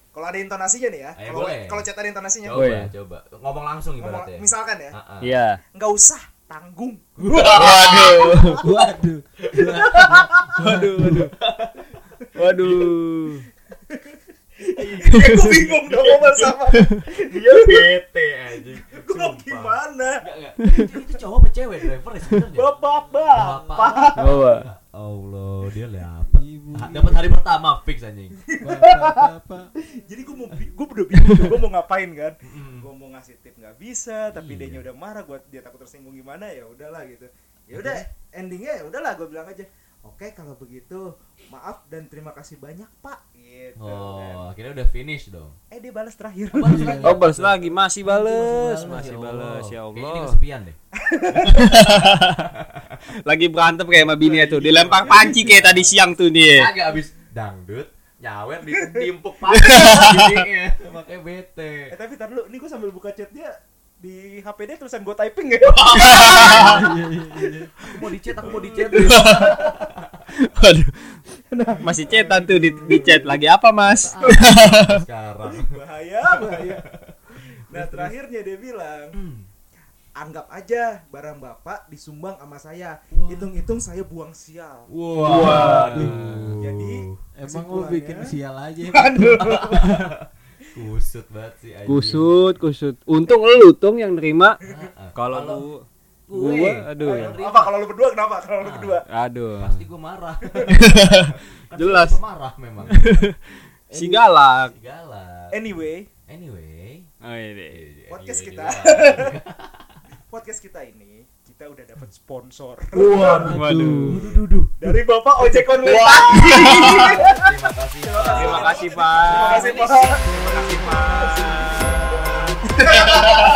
Speaker 1: Kalau ada intonasinya nih ya.
Speaker 2: Ayo,
Speaker 1: Kalau
Speaker 2: boleh.
Speaker 1: kalau chat ada intonasinya.
Speaker 2: Coba coba ngomong langsung
Speaker 1: Iya. Ngomong,
Speaker 2: ibaratnya.
Speaker 1: misalkan ya,
Speaker 2: Ah, ah.
Speaker 3: Iya.
Speaker 1: nggak usah
Speaker 2: <laughs>
Speaker 1: tanggung. <laughs>
Speaker 5: Waduh.
Speaker 3: Waduh.
Speaker 1: ya gue bingung dong ngomong sama.
Speaker 2: Dia bete aja.
Speaker 1: Gue mau gimana?
Speaker 2: Itu cowok apa cewek driver ya sebenarnya?
Speaker 1: Bapak-bapak.
Speaker 2: Bapak.
Speaker 3: Coba.
Speaker 2: Allah, dia dapat dapat hari pertama fix anjing.
Speaker 5: Bapak-bapak.
Speaker 1: Jadi gue mau gue udah bingung gue mau ngapain kan.
Speaker 2: Hmm.
Speaker 1: Gue mau ngasih tip nggak bisa, tapi dia
Speaker 2: Iya.
Speaker 1: nya udah marah gue dia takut tersinggung gimana ya udahlah gitu. Ya udah endingnya ya udahlah gue bilang aja. Oke kalau begitu maaf dan terima kasih banyak Pak gitu. kan.
Speaker 2: Oh, akhirnya udah finish dong.
Speaker 1: Eh dia balas terakhir.
Speaker 6: oh balas lagi masih balas
Speaker 2: Masih
Speaker 6: masih balas ya
Speaker 2: Kayaknya ini
Speaker 6: allah
Speaker 2: kesepian deh.
Speaker 3: Lagi berantem kayak sama bini tuh. Dilempar panci kayak tadi siang tuh dia.
Speaker 2: Agak abis dangdut nyawer <laughs> di timpuk <laughs> panjangnya makanya bete.
Speaker 1: Eh tapi tar dulu, ini gue sambil buka chat dia di HP dia tulisan gue typing ya. <laughs>
Speaker 2: Aku mau dicet, aku mau dicet.
Speaker 3: Waduh. Masih cetan tuh di, di chat lagi apa, Mas?
Speaker 2: Sekarang.
Speaker 1: bahaya, bahaya. Nah terakhirnya dia bilang, anggap aja barang bapak disumbang sama saya hitung-hitung saya buang sial
Speaker 2: Waduh.
Speaker 1: jadi
Speaker 5: Emang lu
Speaker 1: kesimpulannya-
Speaker 5: bikin sial aja.
Speaker 2: Kusut banget sih
Speaker 6: Eh,
Speaker 2: anjing.
Speaker 6: Kusut, kusut. Untung lu tung yang nerima.
Speaker 2: Heeh.
Speaker 6: Kalau lu
Speaker 2: gue,
Speaker 6: gua, aduh ya.
Speaker 1: apa kalau lu berdua kenapa kalau lu berdua
Speaker 6: Aduh.
Speaker 2: pasti gue marah. Kan
Speaker 6: <laughs>
Speaker 3: Jelas.
Speaker 2: gua marah <laughs> memang.
Speaker 3: Si galak.
Speaker 2: Segala.
Speaker 1: anyway
Speaker 2: Anyway,
Speaker 3: Oh,
Speaker 2: iya.
Speaker 3: ini.
Speaker 1: Podcast kita. podcast kita ini kita udah dapat sponsor
Speaker 3: Waduh.
Speaker 1: dari bapak ojek online
Speaker 2: <laughs> Terima kasih. Pak.
Speaker 3: Terima kasih, Pak. <laughs>
Speaker 1: terima kasih pak
Speaker 3: Terima kasih, Pak.